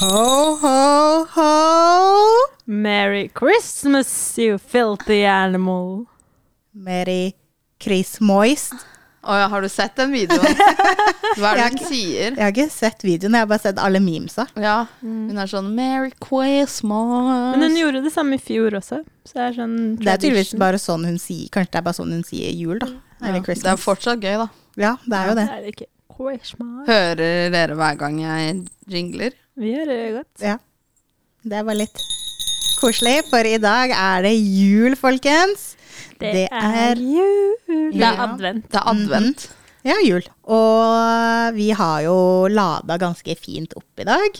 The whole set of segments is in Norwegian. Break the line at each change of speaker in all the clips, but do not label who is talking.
Ho, ho, ho! Merry Christmas, you filthy animal.
Merry Christmoist.
Å ja, har du sett den videoen? Hva er det hun sier?
Jeg har ikke sett videoen, jeg har bare sett alle memesa.
Ja,
Mm.
hun er sånn Merry
Men hun
Christmas.
gjorde det samme i fjor også. Så det er sånn
Det er tydeligvis
tradition.
bare sånn hun sier Kanskje det er bare sånn hun sier jul, da. Eller
Ja, det er
Christmas.
fortsatt gøy, da.
Ja, det er jo det.
Det er det ikke. Christmas.
Hører dere hver gang jeg jingler?
Vi gjør det godt.
Ja. Det var litt koselig, for i dag er det jul, folkens.
Det,
Det er-
er jul. Det er
Ja.
advent.
Det er
Mhm.
advent.
Ja, jul. Og vi har jo lada ganske fint opp i dag.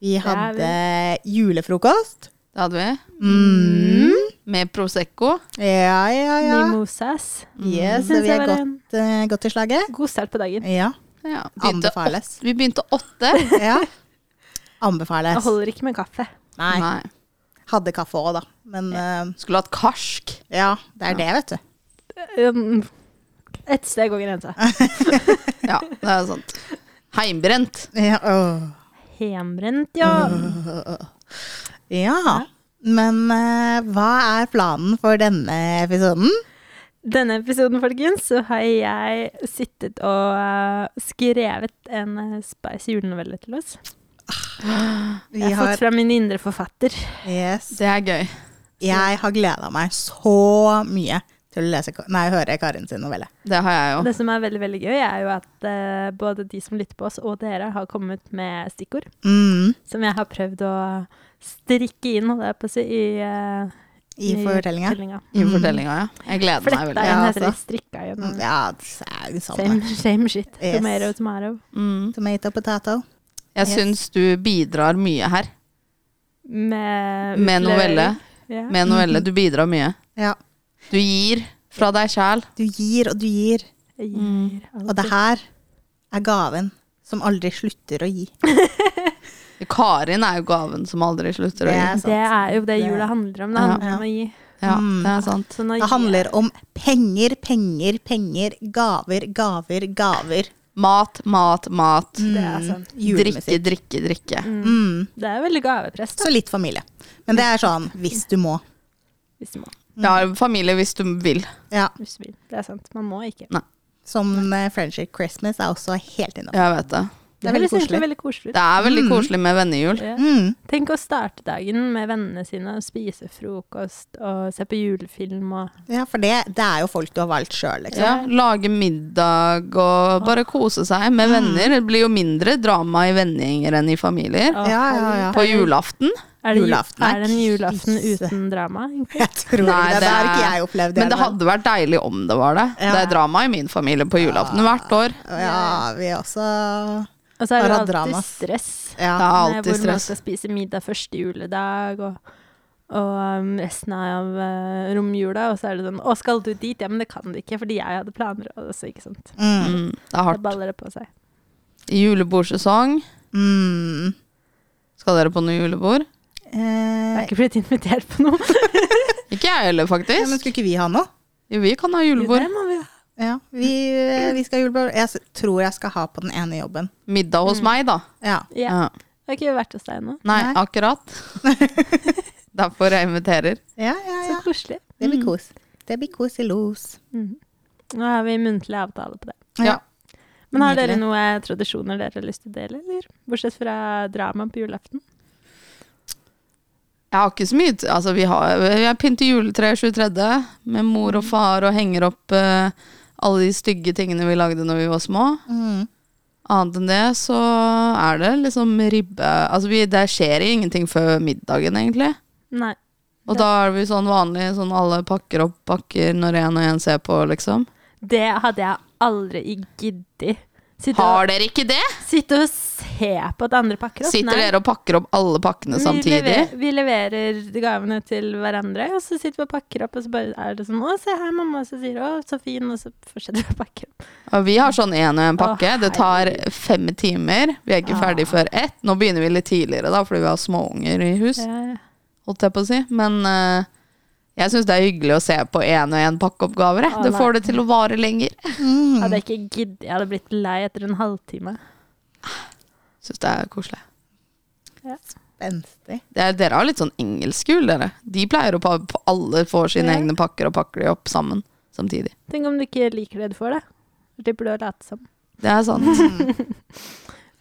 Vi
er vi.
hadde julefrokost.
Det hadde vi.
Mm.
Med Prosecco.
Ja, ja, ja.
Mimosas.
Yes,
Synes
vi
jeg
er
var
godt,
en-
eh, godt i slaget.
God start på dagen.
Ja.
Ja, begynte
Anbefales.
åt- Vi begynte åtte.
Ja.
Jeg
Anbefales.
holder ikke med kaffe.
Nei.
Nei.
Hadde kaffe òg, da. Men eh,
Skulle hatt karsk.
ja, det er det, vet du.
Um, Ett steg over grensa.
Ah.
Ja, det er sant. Heimbrent.
Ja, åh.
Hjembrent, ja.
ja. Men eh, hva er planen for denne episoden?
Denne episoden, folkens, så har jeg sittet og eh, skrevet en eh, spicy julenovelle til oss.
Vi
Jeg har
har-
fått fra min indre forfatter.
Yes.
Det er gøy.
Jeg har gleda meg så mye til å lese, nei, høre Karin sin novelle.
Det har
Ah.
jeg jo.
Det som er veldig veldig gøy, er jo at eh, både de som lytter på oss og dere, har kommet med stikkord
Mm,
som jeg har prøvd å strikke inn holdt jeg på å si, i, eh,
I fortellinga. Mm.
I fortellinga, ja. Jeg gleder meg
Fletta
veldig.
inn
Ja,
heter det.
altså.
Strikka igjen.
Ja, det er jo sånn.
Same, same shit.
Yes.
Tomato, tomato.
Mm.
Tomato potato.
Jeg
Yes.
syns du bidrar mye her.
Med,
Med novelle.
utlevering. Ja.
Med novelle. Du bidrar mye.
Ja.
Du gir fra deg sjæl.
Du gir og du gir,
Jeg gir
Mm. og det
alltid.
her er gaven som aldri slutter å gi.
Karin er jo gaven som aldri slutter å gi.
er sant.
Det er jo det
Det-
jula handler om. Det
Ja.
handler om å gi.
Ja, det er sant.
Så nå
Det handler om penger, penger, penger, gaver, gaver, gaver.
Mat, mat, mat.
Det er sant.
Drikke,
Mm. Julemusikk.
drikke, drikke.
Mm.
Det er veldig gavepress, da.
Så litt familie. Men det er sånn hvis du må. Mm.
Hvis du må.
Ja, familie hvis du vil.
Ja,
Hvis du vil. Det er sant. Man må ikke.
Som eh, Friendship Christmas er også helt innom.
Jeg vet det.
Det,
Det er veldig
høres egentlig
koselig.
veldig koselig ut.
Det er veldig koselig med vennejul.
Ja.
Mm.
Tenk å starte dagen med vennene sine og spise frokost og se på julefilm og
Ja, for det, det er jo folk du har valgt sjøl, liksom.
Ja, lage middag og bare kose seg med venner. Det blir jo mindre drama i vennegjenger enn i familier.
Å,
Ja, ja, ja.
På julaften.
Er det, ju-
Julaften er
er det en julaften
krise.
uten drama? egentlig?
Jeg tror
Nei,
det, det har
det
ikke
er-
jeg opplevd.
Men det
ennå.
hadde vært deilig om det var det.
Ja.
Det er drama i min familie på julaften hvert år.
Ja, vi også
Og så er det jo
Bare
alltid
drama.
stress.
Det er
Ja.
med
alltid
Hvor man
stress.
skal spise middag første juledag og, og um, resten av eh, romjula. Og så er det sånn Å, skal du dit? Ja, men det kan du ikke, fordi jeg hadde planer. Og så, ikke sant.
Mm.
Mm, det er
Da
hardt.
baller det på seg.
I julebordsesong
Mm.
skal dere på noe julebord.
Jeg
Eh,
er ikke blitt invitert på noe.
Ikke jeg heller,
ja, men
faktisk.
skulle ikke vi ha noe?
Jo, vi kan ha julebord.
Det må vi ha.
Ja, vi, eh, vi skal ha julebord. Jeg s- tror jeg skal ha på den ene jobben.
Middag
Mm.
hos meg, da.
Ja.
Ja.
Ja.
Jeg har ikke vært hos deg ennå.
Nei, akkurat. Derfor jeg inviterer.
Ja, ja,
Så
ja.
koselig.
Det blir kos. Det blir kos i los.
Mhm. Nå har vi muntlig avtale på det.
Ja.
Men har dere
Nydelig.
noen tradisjoner dere har lyst til å dele, eller? Bortsett fra drama på julaften.
Jeg har ikke så mye Altså, vi har Jeg pynter juletre 23. med mor og far og henger opp eh, alle de stygge tingene vi lagde når vi var små.
Mm.
Annet enn det så er det liksom ribbe Altså, vi, det skjer ingenting før middagen, egentlig.
Nei.
Og da er vi sånn vanlig, sånn alle pakker opp pakker når en og en ser på, liksom.
Det hadde jeg aldri giddet. Sitte,
Har dere ikke det?
og, sitte og se på at andre pakker opp.
Sitter dere og pakker opp alle pakkene
Vi
samtidig?
leverer, vi leverer gavene til hverandre, og så sitter vi og pakker opp, og så bare er det sånn 'Å, se her, mamma', og så sier 'Å, så fin', og så fortsetter vi å pakke opp.
Ja, Vi har sånn én og én pakke.
Å,
Det tar fem timer. Vi er ikke
Ah.
ferdig før ett. Nå begynner vi litt tidligere, da, fordi vi har småunger i hus.
Ja.
holdt jeg på å si. Men eh, jeg syns det er hyggelig å se på én og én pakkeoppgaver. jeg.
Å,
Det
nei.
får det til å vare lenger. Mm.
Mm.
Hadde jeg ikke giddet, jeg hadde blitt lei etter en halvtime.
Syns det er koselig.
Spenstig.
Det er, dere har litt sånn engelskhjul, dere. De pleier å pa pa- alle får sine
Ja.
egne pakker og pakker de opp sammen samtidig.
Tenk om du ikke liker det du får, da. Da slipper du å late som.
Det er sant.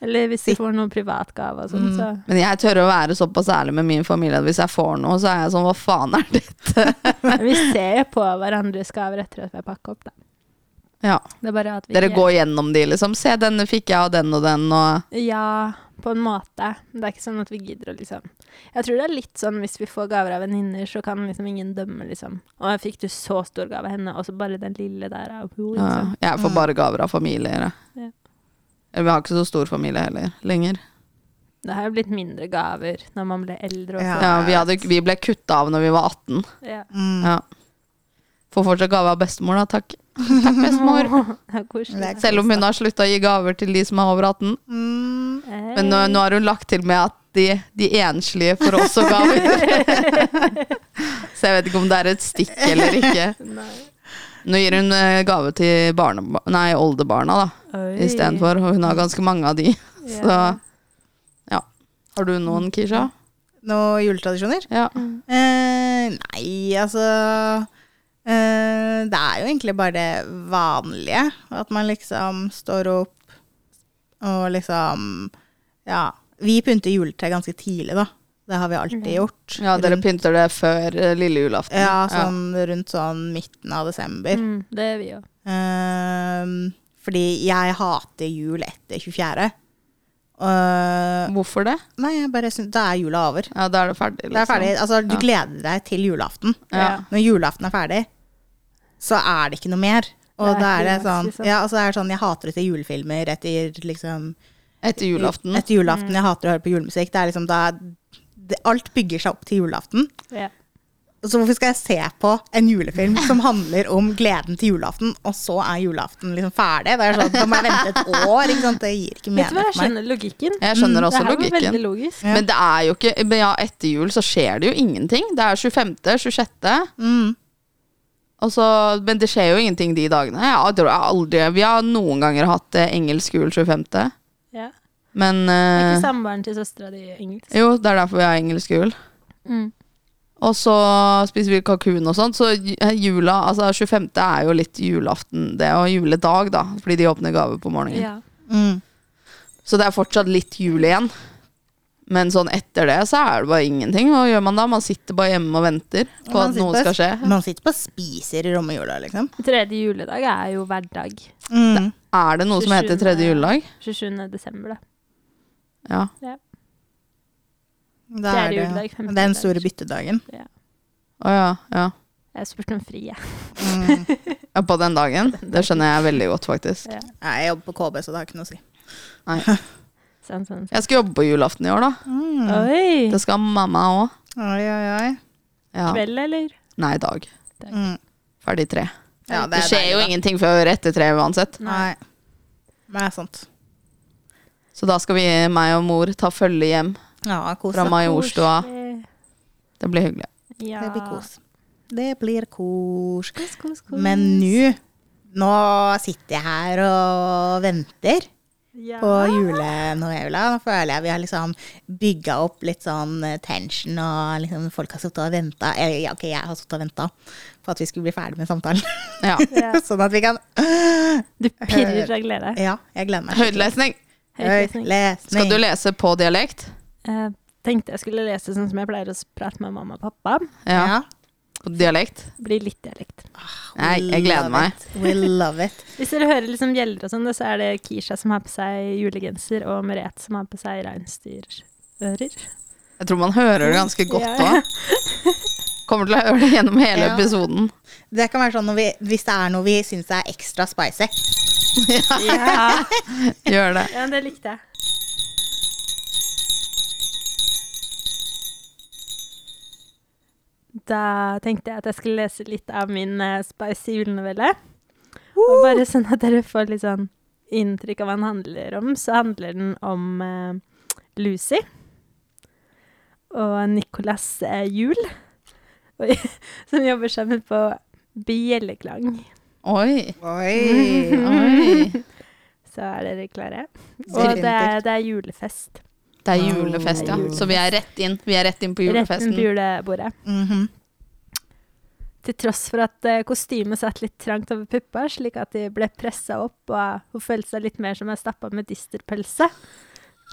Eller hvis du får noen privatgave og sånn, så
Men jeg tør å være såpass ærlig med min familie at hvis jeg får noe, så er jeg sånn hva faen er det?
Men Vi ser jo på hverandres gaver etter at vi har pakket opp, da.
Ja.
Det er bare at vi
Dere
ikke-
går gjennom de, liksom. Se, denne fikk jeg av den og den, og
Ja, på en måte. Men Det er ikke sånn at vi gidder å liksom Jeg tror det er litt sånn hvis vi får gaver av venninner, så kan liksom ingen dømme, liksom. Og jeg fikk du så stor gave av henne, og så bare den lille der av henne,
ja,
liksom.
Jeg får bare gaver av familier.
Ja.
jeg. Vi har ikke så stor familie heller lenger.
Det har jo blitt mindre gaver når man ble eldre
Ja.
også.
Ja, vi, hadde, vi ble kutta av når vi var 18.
Ja.
Mm.
Ja. Får fortsatt gave av bestemor, da. Takk. Takk, bestemor.
Det er koselig.
Det er-
Selv om hun har slutta å gi gaver til de som er over 18.
Mm.
Men nå, nå har hun lagt til med at de, de enslige får også gaver. Så jeg vet ikke om det er et stikk eller ikke. Nå gir hun eh, gave til barneba- nei, oldebarna da, istedenfor, og hun har ganske mange av de. Så ja. Har du noen, Kisha?
Noen juletradisjoner?
Ja.
Eh, nei, altså eh, Det er jo egentlig bare det vanlige. At man liksom står opp og liksom Ja. Vi pynter juletre ganske tidlig, da. Det har vi alltid gjort.
ja, dere
Rundt-
pynter det før eh, lille julaften.
Ja, sånn rundt sånn midten av desember.
Mm, det er vi jo.
Eh, fordi jeg hater jul etter 24. Eh,
Hvorfor det?
nei, jeg bare syns Da er jula over.
Ja, da er det ferdig.
Det er ferdig. Altså, du
Liksom. Ja.
gleder deg til julaften.
Ja.
Når julaften er ferdig, så er det ikke noe mer. Og
Det er
da er det
klimaks,
sånn
liksom.
Ja, altså det er sånn Jeg hater å se julefilmer etter liksom
Etter julaften.
Etter julaften. Jeg hater å høre på julemusikk. Det er liksom da det, Alt bygger seg opp til julaften.
Ja.
Så hvorfor skal jeg se på en julefilm som handler om gleden til julaften, og så er julaften liksom ferdig? Det er sånn, Da må jeg vente et år. Ikke sant? Det gir ikke
Vet du hva,
mening
jeg
for meg.
skjønner logikken.
Jeg
Mm,
Mm,
skjønner også
det her var
logikken.
veldig logisk.
Ja.
Men det er jo ikke men ja, Etter jul så skjer det jo ingenting. Det er 25., 26.
Mm.
Og så, men det skjer jo ingenting de dagene. Jeg tror jeg aldri, vi har noen ganger hatt eh, engelsk jul 25.
Ja.
Men
Er
eh,
ikke samboeren til søstera di engelsk?
Jo, det er derfor vi har engelsk jul.
Mm.
Og så spiser vi kakun og sånt. Så j- eh, jula, altså 25. er jo litt julaften, det, og juledag, da. Fordi de åpner gaver på morgenen.
Ja.
Mm.
Så det er fortsatt litt jul igjen. Men sånn etter det så er det bare ingenting. Hva gjør man da? Man sitter bare hjemme og venter på
Man
at
sitter
noe skal
bare-
skje.
Man sitter bare og spiser i romjula, liksom.
Tredje juledag er jo hverdag.
Mm.
Er det noe som heter
27.
tredje juledag?
27. desember, da.
Ja.
Da
Fjerde
er det,
juledag,
det
femte
er den
juledag.
store byttedagen.
Å ja, ja.
Jeg spurte om fri, jeg.
Mm.
ja. På den dagen? Det skjønner jeg veldig godt, faktisk.
Ja.
Nei, Jeg jobber på KB, så det har ikke noe å si.
Nei.
Sånn, sånn.
Jeg skal jobbe på julaften i år, da.
Mm.
Mm.
Oi!
Det skal mamma òg.
Oi, oi, oi.
Ja.
Kveld, eller?
Nei, dag.
Mm.
Ferdig tre.
Ja,
Det
er
skjer jo
deilig,
ingenting før etter tre uansett.
da. Nei. Nei, sant.
Så da skal vi, meg og mor, ta følge hjem
Ja, kos.
fra
da.
Majorstua.
Koselig.
Det blir hyggelig.
Ja.
Det blir kos. Det blir kos.
Kos, kos, kos.
Men nå nå sitter jeg her og venter
ja.
på julenojula. Nå føler jeg vi har liksom bygga opp litt sånn eh, tension, og liksom folk har sittet og venta Ja, ok, jeg har sittet og venta på at vi skulle bli ferdig med samtalen.
Ja.
Ja.
sånn at vi kan
Du pirrer av glede.
Ja, jeg gleder meg. skikkelig.
Høydelesning.
Høytlesning.
Høytlesning.
Skal du lese på dialekt?
Jeg Eh, tenkte jeg skulle lese sånn som jeg pleier å s- prate med mamma og pappa.
Ja. På dialekt?
Blir litt dialekt.
Nei, jeg gleder meg.
We love it.
Hvis dere hører liksom bjeller og sånn, så er det Kisha som har på seg julegenser, og Merete som har på seg reinsdyrører.
Jeg tror man hører det ganske godt
Ja.
òg. Kommer til å høre det gjennom hele
Ja.
episoden.
Det kan være sånn når vi, hvis det er noe vi syns er ekstra spicy.
Ja.
Gjør det.
ja, det likte jeg. Da tenkte jeg at jeg skulle lese litt av min eh, spicy julenovelle. Og bare sånn at dere får litt sånn inntrykk av hva den handler om, så handler den om eh, Lucy og Nicolas eh, Juel, og- som jobber sammen på bjelleklang.
Oi.
Oi.
Oi.
Så er dere klare?
Så
Og det er,
fint.
det er julefest.
Det er julefest, ja. Så vi er rett inn. Vi er rett inn på
Rett rundt
julefesten.
julebordet.
Mhm.
Til tross for at eh, kostymet satt litt trangt over puppa, slik at de ble pressa opp, og hun følte seg litt mer som en stappa med disterpølse.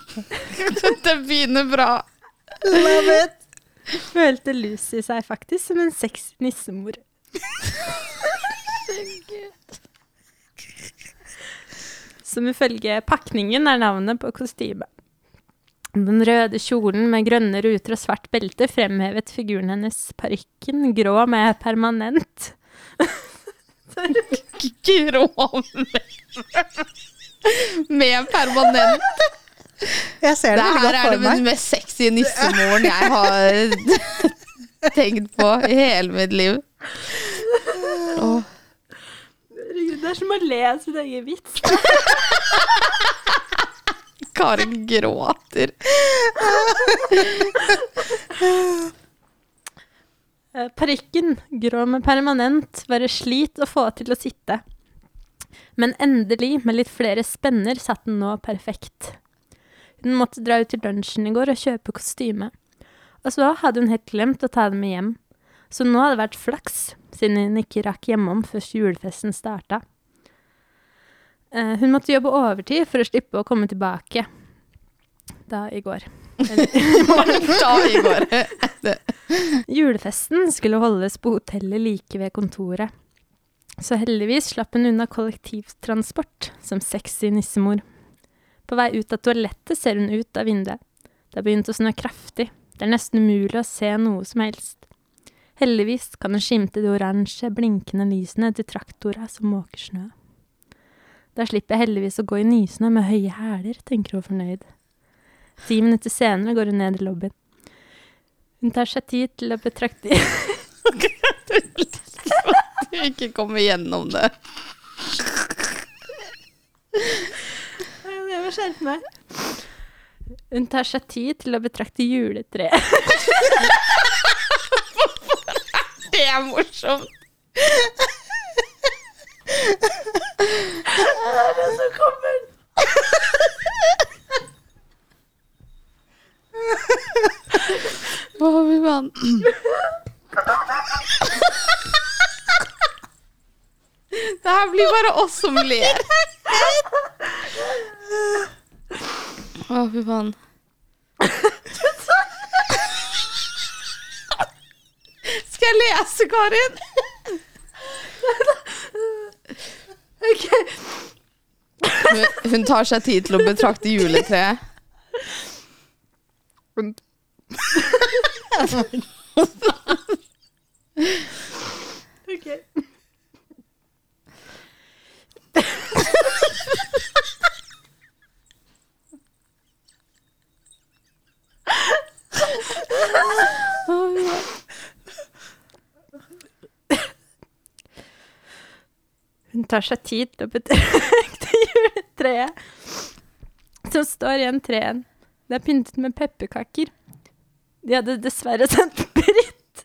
Det begynner bra.
Love it!
Følte Lucy seg faktisk som en sexy nissemor. Som ifølge pakningen er navnet på kostymet. Den røde kjolen med grønne ruter og svart belte fremhevet figuren hennes. Parykken grå med permanent.
Grå med permanent.
Jeg ser
Det
det
her
veldig godt
er
for
den
meg.
mest sexy nissemoren jeg har tenkt på i hele mitt liv. Åh.
Herregud, Det er som å le av sin egen vits.
Karin gråter.
Eh, Parykken, grå med permanent, var et slit å få til å sitte. Men endelig, med litt flere spenner, satt den nå perfekt. Hun måtte dra ut til lunsjen i går og kjøpe kostyme. Og så hadde hun helt glemt å ta det med hjem. Så nå hadde det vært flaks, siden hun ikke rakk hjemom før julefesten starta. Eh, Hun måtte jobbe overtid for å slippe å komme tilbake. Da i går.
Da i går.
Julefesten skulle holdes på hotellet like ved kontoret. Så heldigvis slapp hun unna kollektivtransport som sexy nissemor. På vei ut av toalettet ser hun ut av vinduet. Det har begynt å snø kraftig. Det er nesten umulig å se noe som helst. Heldigvis kan hun skimte de oransje, blinkende lysene til traktora som måker snø. Da slipper jeg heldigvis å gå i nysnø med høye hæler, tenker hun fornøyd. Ti minutter senere går hun ned i lobbyen. Hun tar seg tid til å betrakte
Du ikke kommer gjennom det.
Jeg må skjerpe meg. Hun tar seg tid til å betrakte juletreet.
Det er morsomt. Hva har vi med han? Det her blir bare oss som ler. Å, fy faen. Skal jeg lese, Karin? Hun, hun tar seg tid til å betrakte juletreet. Hun-
Hun tar seg tid til å betrakte juletreet som står igjen treen. Det er pyntet med pepperkaker. De hadde dessverre sendt Britt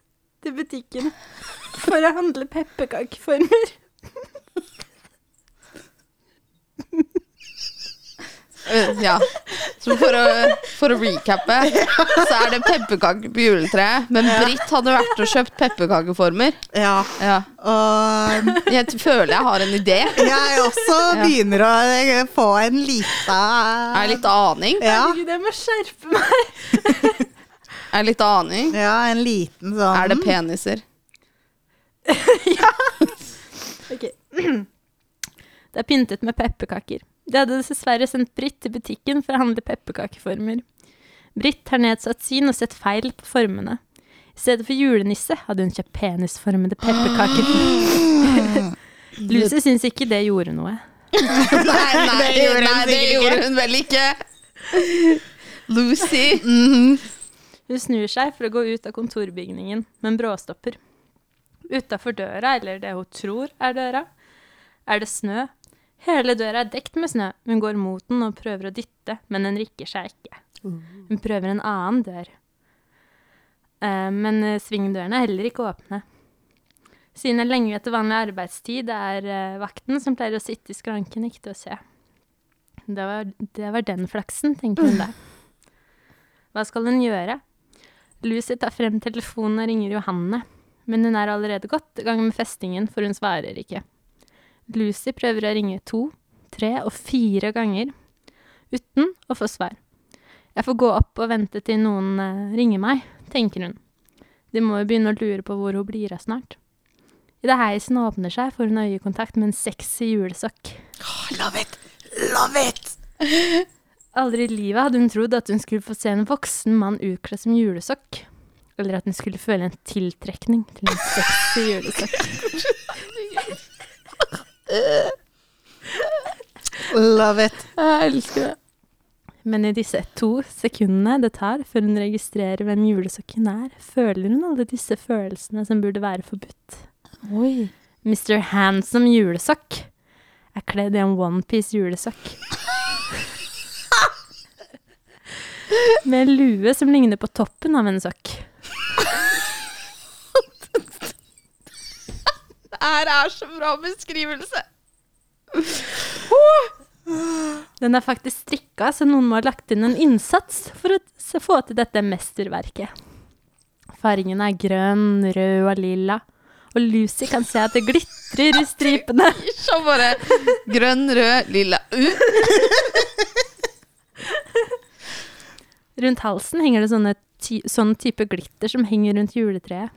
til butikken for å handle pepperkakeformer.
Øh, Ja. Så for å, for å recappe, så er det pepperkaker på juletreet. Men Britt hadde vært og kjøpt pepperkakeformer.
Ja,
Ja.
og
Jeg t- føler jeg har en idé.
jeg også
Ja.
begynner å eh, få en lita
Er litt aning.
ja,
Herregud, jeg må skjerpe meg.
Er litt aning.
ja, en liten sånn
Er det peniser?
Ok. Det er pyntet med pepperkaker. De hadde dessverre sendt Britt til butikken for å handle pepperkakeformer. Britt har nedsatt syn og sett feil på formene. I stedet for julenisse hadde hun kjøpt penisformede pepperkaker. Lucy syns ikke det gjorde noe.
Nei, nei,
det gjorde hun
nei, det
sikkert
gjorde
ikke.
hun vel ikke. Lucy.
Hun snur seg for å gå ut av kontorbygningen, men bråstopper. Utafor døra, eller det hun tror er døra, er det snø. Hele døra er dekt med snø. Hun går mot den og prøver å dytte, men den rikker seg ikke. Hun prøver en annen dør. Eh, men eh, svingdørene er heller ikke åpne. Siden det er lenge etter vanlig arbeidstid, er eh, vakten som pleier å sitte i skranken, ikke til å se. Det var, det var den flaksen, tenker hun da. Hva skal hun gjøre? Lucy tar frem telefonen og ringer Johanne, men hun er allerede godt i gang med festingen, for hun svarer ikke. Lucy prøver å ringe to, tre og fire ganger, uten å få svar. Jeg får gå opp og vente til noen eh, ringer meg, tenker hun. De må jo begynne å lure på hvor hun blir av snart. Idet heisen åpner seg, får hun øyekontakt med en sexy julesokk.
Love it! Love it!
Aldri i livet hadde hun trodd at hun skulle få se en voksen mann utkledd som julesokk. Eller at hun skulle føle en tiltrekning til en sexy julesokk.
Love it.
Jeg elsker det.
Men i disse to sekundene det tar før hun registrerer hvem julesokken er, føler hun alle disse følelsene som burde være forbudt.
Oi.
Mr. Handsome julesokk er kledd i en onepiece julesokk. Med en lue som ligner på toppen av en sokk.
Det her er så bra beskrivelse.
Den er faktisk strikka, så noen må ha lagt inn en innsats for å s- få til dette mesterverket. Fargen er grønn, rød og lilla, og Lucy kan se at det glitrer i stripene.
Så bare grønn, rød, lilla uh.
Rundt halsen henger det sånne ty sånn type glitter som henger rundt juletreet.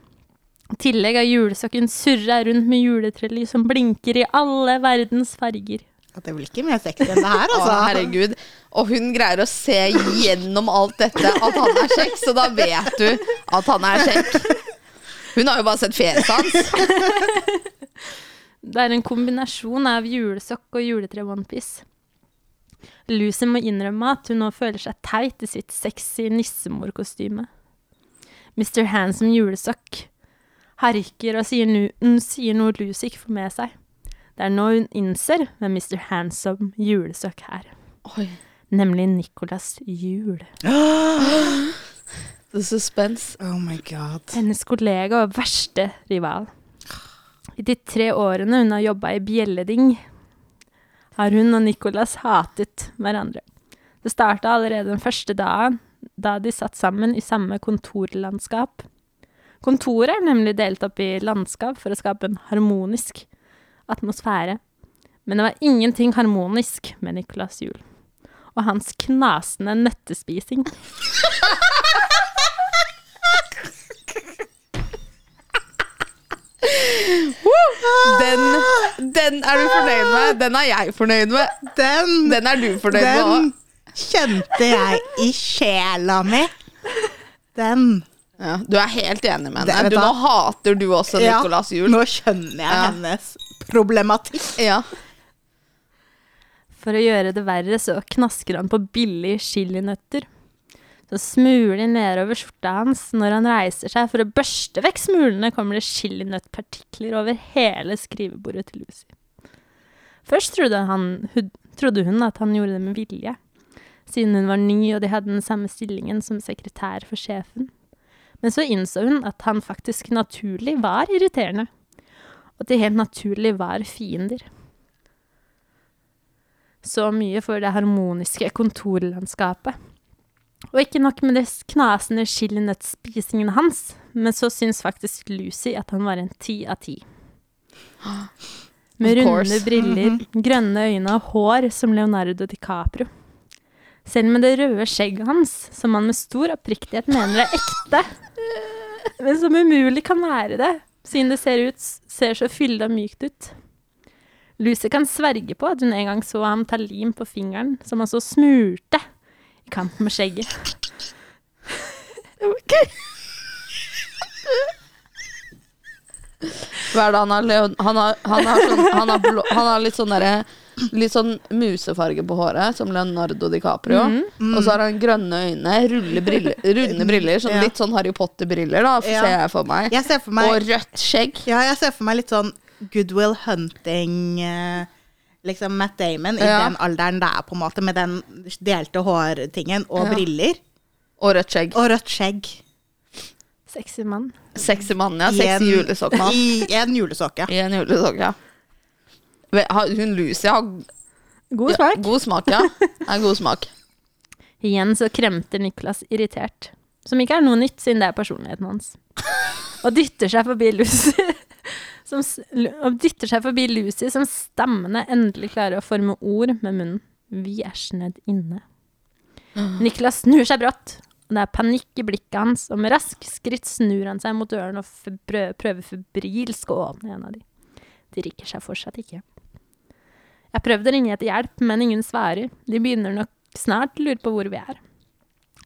I tillegg er julesokken surra rundt med juletrelys som blinker i alle verdens farger.
At det blir ikke mer sexy enn det her,
Å,
altså.
herregud. Og hun greier å se gjennom alt dette at han er kjekk, så da vet du at han er kjekk. Hun har jo bare sett fjeset hans.
Det er en kombinasjon av julesokk og juletre onepiece. Lucy må innrømme at hun nå føler seg teit i sitt sexy nissemorkostyme. Mr. Handsome julesokk harker og sier, nu, hun sier noe Lucy ikke får med seg. Det er nå hun innser hvem Mr. Handsome julesokk er,
Oi,
nemlig Nicholas Jul.
the suspense.
Oh my god.
Hennes kollega og verste rival. I de tre årene hun har jobba i Bjelleding, har hun og Nicolas hatet hverandre. Det starta allerede den første dagen, da de satt sammen i samme kontorlandskap. Kontoret er nemlig delt opp i landskap for å skape en harmonisk atmosfære. Men det var ingenting harmonisk med Nicolas Juel og hans knasende nøttespising.
Den, den er du fornøyd med. Den er jeg fornøyd med.
Den,
Den er du fornøyd med
den
òg.
kjente jeg i sjela mi. Den.
Ja, du er helt enig med
Det-
henne.
vet
Du,
du
nå
hva?
hater du også Nicolas Juel.
Nå skjønner jeg
Ja.
hennes problematikk.
Ja.
For å gjøre det verre så knasker han på billige chilinøtter. Så smuler de nedover skjorta hans når han reiser seg for å børste vekk smulene, kommer det chilinøttpartikler over hele skrivebordet til Lucy. Først trodde, han, hun, trodde hun at han gjorde det med vilje, siden hun var ny og de hadde den samme stillingen som sekretær for sjefen. Men så innså hun at han faktisk naturlig var irriterende, og at de helt naturlig var fiender. Så mye for det harmoniske kontorlandskapet. Og ikke nok med det knasende chilinøttspisingen hans, men så syns faktisk Lucy at han var en ti av ti. Med
Of
runde
course.
briller, grønne øyne og hår som Leonardo DiCaprio. Selv med det røde skjegget hans, som han med stor oppriktighet mener er ekte, men som umulig kan være det, siden det ser, ut, ser så fyldig og mykt ut. Lucy kan sverge på at hun en gang så ham ta lim på fingeren, som han så smurte i kant med skjegget.
Hva er det han har? Leon, han har, han har, sånn, han har, blå, han har litt sånn derre litt sånn musefarge på håret, som Leonardo DiCaprio.
Mhm.
Mm.
Og så har han grønne øyne, rulle briller, runde briller, sånn
Ja.
litt sånn Harry Potter-briller, da,
Ja.
ser jeg for meg.
Jeg ser for meg
Og rødt skjegg.
Ja, jeg ser for meg litt sånn Goodwill Hunting eh, Liksom Matt Damon i
Ja.
den alderen det er, på en måte, med den delte hårtingen og
Ja.
briller.
Og rødt skjegg.
Og rødt skegg.
Sexy mann.
Sexy mann, ja.
I en-
Sexy julesokkmann.
I en julesokke.
I en julesokk, ja. Ve- har- Hun Lucy har
God smak.
Ja, god smak, ja. Er god smak.
Igjen så kremter Niklas irritert, som ikke er noe nytt siden det er personligheten hans. Og dytter seg forbi Lucy, som, s- lu- og dytter seg forbi Lucy som stammende endelig klarer å forme ord med munnen. Vi er snødd inne. Niklas snur seg brått, og det er panikk i blikket hans, og med rask skritt snur han seg mot døren og fe- brø- prøver febrilsk å åpne en av de. De rikker seg fortsatt ikke. Jeg prøvde å ringe etter hjelp, men ingen svarer. De begynner nok snart lurer på hvor vi er.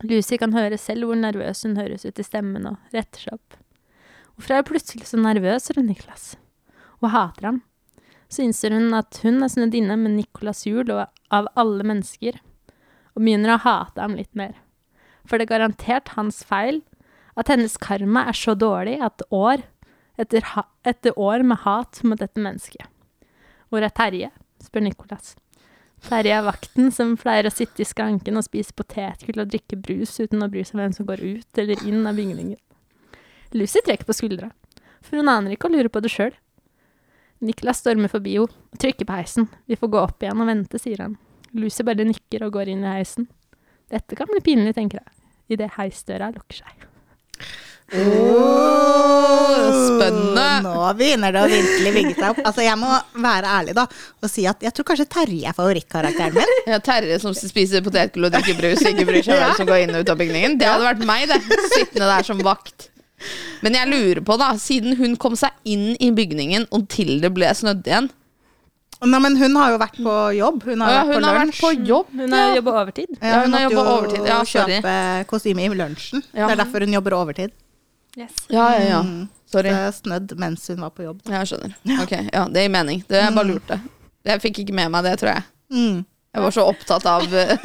Lucy kan høre selv hvor nervøs hun høres ut i stemmen og retter seg opp. Hvorfor er hun plutselig så nervøs rundt Niklas? Og hater ham. Så innser hun at hun er snudd inne med Nicolas Hjul og av alle mennesker, og begynner å hate ham litt mer. For det er garantert hans feil at hennes karma er så dårlig at år etter, ha etter år med hat mot dette mennesket. Hvor er Terje? spør Nicolas. Terje er vakten som pleier å sitte i skranken og spise potetgull og drikke brus uten å bry seg om hvem som går ut eller inn av bygningen. Lucy trekker på skuldra, for hun aner ikke å lure på det sjøl. Niklas stormer forbi henne og trykker på heisen. Vi får gå opp igjen og vente, sier han. Lucy bare nikker og går inn i heisen. Dette kan bli pinlig, tenker jeg, idet heisdøra lukker seg.
spennende.
Nå begynner det å virkelig vinge seg opp. Altså, jeg må være ærlig da, og si at jeg tror kanskje Terje er favorittkarakteren min.
Ja, Terje som spiser potetgull og drikker brus, ikke bryr seg om hvem som går inn og ut av bygningen. Det hadde vært meg, det. Sittende der som vakt. Men jeg lurer på, da, siden hun kom seg inn i bygningen og til det ble snødd igjen
Nei, men hun har jo vært på jobb. Hun har
Å ja,
vært på
Hun har vært
lunsj.
på jobb.
Hun har
ja.
jobba overtid.
Ja, hun,
hun har
måtte
jobbet
jo
overtid. Ja, sorry.
kjøpe kostyme i lunsjen.
Ja.
Det er derfor hun jobber overtid.
Yes.
Ja, ja, ja. Sorry.
Så Snødd mens hun var på jobb.
Jeg skjønner. Ok, ja, Det gir mening. Det jeg bare lurte. Jeg fikk ikke med meg det, tror jeg.
Mm.
Jeg var så opptatt av eh,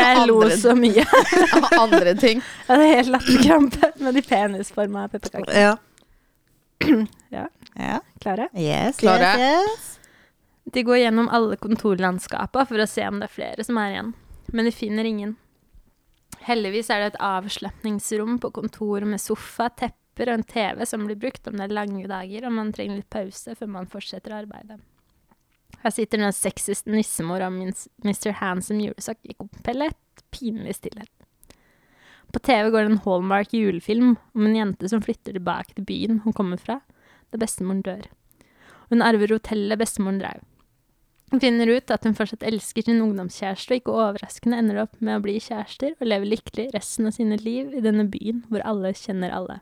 Jeg lo
Andre-
så mye. Jeg
av andre ting.
hadde helt latterkrampe med de penisforma pepperkakene. Ja,
Ja. ja.
klare?
Yes,
Klare.
yes, yes.
De går gjennom alle kontorlandskapene for å se om det er flere som er igjen, men de finner ingen. Heldigvis er det et avslapningsrom på kontoret med sofa, tepper og en TV som blir brukt om det er lange dager og man trenger litt pause før man fortsetter arbeidet. Her sitter den sexyste nissemor og min- Mr. Handsome julesokk i komplett pinlig stillhet. På TV går det en hallmark julefilm om en jente som flytter tilbake til byen hun kommer fra, da bestemoren dør. Hun arver hotellet bestemoren drev. Hun finner ut at hun fortsatt elsker sin ungdomskjæreste, og ikke overraskende ender det opp med å bli kjærester og leve lykkelig resten av sine liv i denne byen hvor alle kjenner alle.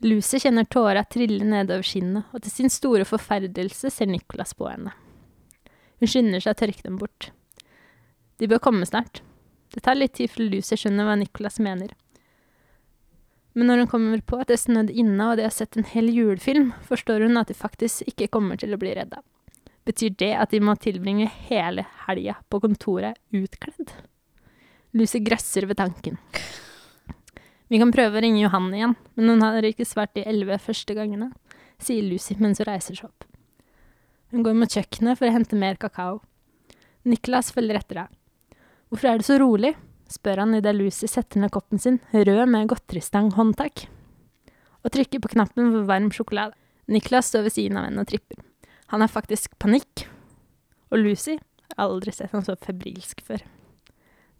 Lucy kjenner tåra trille nedover kinnet, og til sin store forferdelse ser Nicholas på henne. Hun skynder seg å tørke dem bort. De bør komme snart. Det tar litt tid før Lucy skjønner hva Nicholas mener. Men når hun kommer på at det er snødd inne, og de har sett en hel julefilm, forstår hun at de faktisk ikke kommer til å bli redda. Betyr det at de må tilbringe hele helga på kontoret utkledd? Lucy grøsser ved tanken. Vi kan prøve å ringe Johan igjen, men hun har ikke svart de elleve første gangene, sier Lucy mens hun reiser seg opp. Hun går mot kjøkkenet for å hente mer kakao. Niklas følger etter henne. Hvorfor er du så rolig? spør han idet Lucy setter ned koppen sin, rød med godteristang håndtak, og trykker på knappen for varm sjokolade. Niklas står ved siden av henne og tripper. Han har faktisk panikk, og Lucy har aldri sett han så febrilsk før.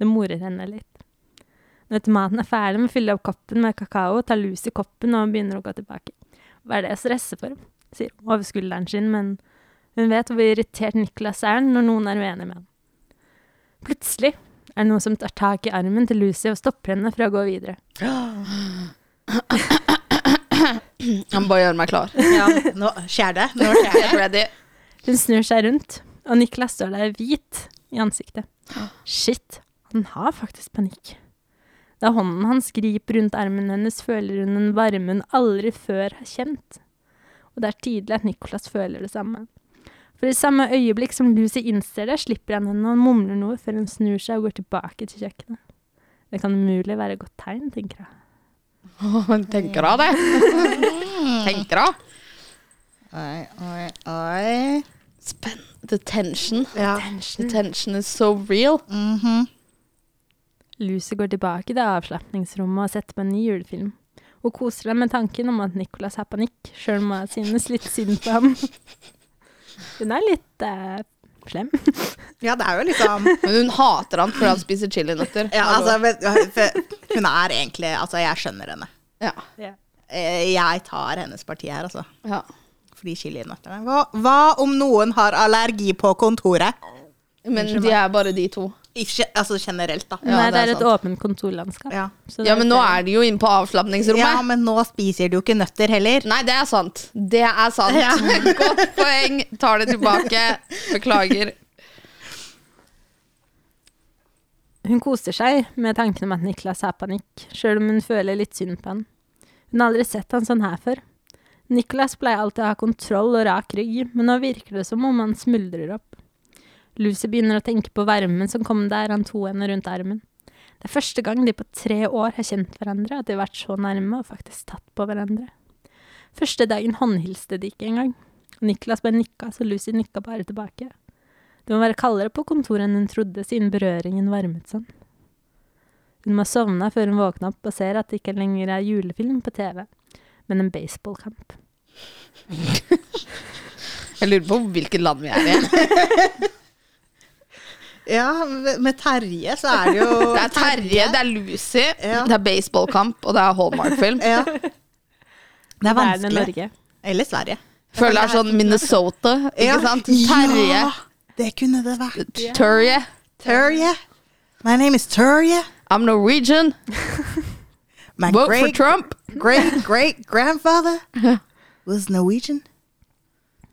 Det morer henne litt. Når tomaten er ferdig med å fylle opp koppen med kakao, tar Lucy koppen og begynner å gå tilbake. Hva er det jeg stresser for? sier hun over skulderen sin, men hun vet hvor irritert Niklas er når noen er uenig med ham. Plutselig er det noen som tar tak i armen til Lucy og stopper henne fra å gå videre.
Han bare gjør meg klar.
Nå skjer det. Nå skjer det.
Get ready.
Hun snur seg rundt, og Niklas står der hvit i ansiktet. Shit, han har faktisk panikk. Da hånden hans griper rundt armen hennes, føler hun en varme hun aldri før har kjent. Og det er tydelig at Niklas føler det samme. For i samme øyeblikk som Lucy innser det, slipper han henne og mumler noe før hun snur seg og går tilbake til kjøkkenet. Det kan umulig være et godt tegn, tenker jeg.
Tenker av det. Tenker av.
Oi, oi, oi.
Spenn. The tension.
Ja.
The tension is so real.
Mhm.
Lucy går tilbake til avslapningsrommet og setter på en ny julefilm. Hun koser seg med tanken om at Nicholas har panikk, sjøl om hun synes litt synd på ham. Hun er litt eh, slem.
ja, det er jo liksom
Men hun hater han fordi han spiser chilinøtter.
ja, altså, vet- for Hun er egentlig Altså, jeg skjønner henne.
ja.
Eh, Jeg tar hennes parti her, altså.
ja.
Fordi chilinøttene hva, hva om noen har allergi på kontoret?
Men de er bare de to.
Ikke, altså generelt, da.
Nei, det er et
sant.
åpent kontorlandskap.
Ja.
så
Ja, men nå
det-
er de jo inne på
ja,
avslapningsrommet.
men nå spiser du ikke nøtter heller.
Nei, det er sant. Det er sant.
Ja.
Godt poeng. Tar det tilbake. Beklager.
Hun koser seg med tanken om at Niklas har panikk, sjøl om hun føler litt synd på han. Hun har aldri sett han sånn her før. Niklas pleier alltid å ha kontroll og rak rygg, men nå virker det som om han smuldrer opp. Lucy begynner å tenke på varmen som kom der han tok henne rundt armen. Det er første gang de på tre år har kjent hverandre, at de har vært så nærme og faktisk tatt på hverandre. Første dagen håndhilste de ikke engang. Niklas bare nikka, så Lucy nikka bare tilbake. Det må være kaldere på kontoret enn hun trodde, siden berøringen varmet sånn. Hun må ha sovna før hun våkna opp og ser at det ikke lenger er julefilm på TV, men en baseballkamp.
Jeg lurer på hvilket land vi er i.
Ja, med med Terje så er det jo
Det er Terje, det er Lucy,
Ja.
det er baseballkamp, og det er Hallmark-film.
Ja. Det er
Det
vanskelig.
Norge.
Eller Sverige.
Føler det er sånn Minnesota, ikke
Ja.
sant? Terje.
Ja, det kunne det vært.
Terje.
Terje. My name is Terje.
I'm Norwegian.
My
Vote for
great,
Trump.
great, great grandfather was Norwegian.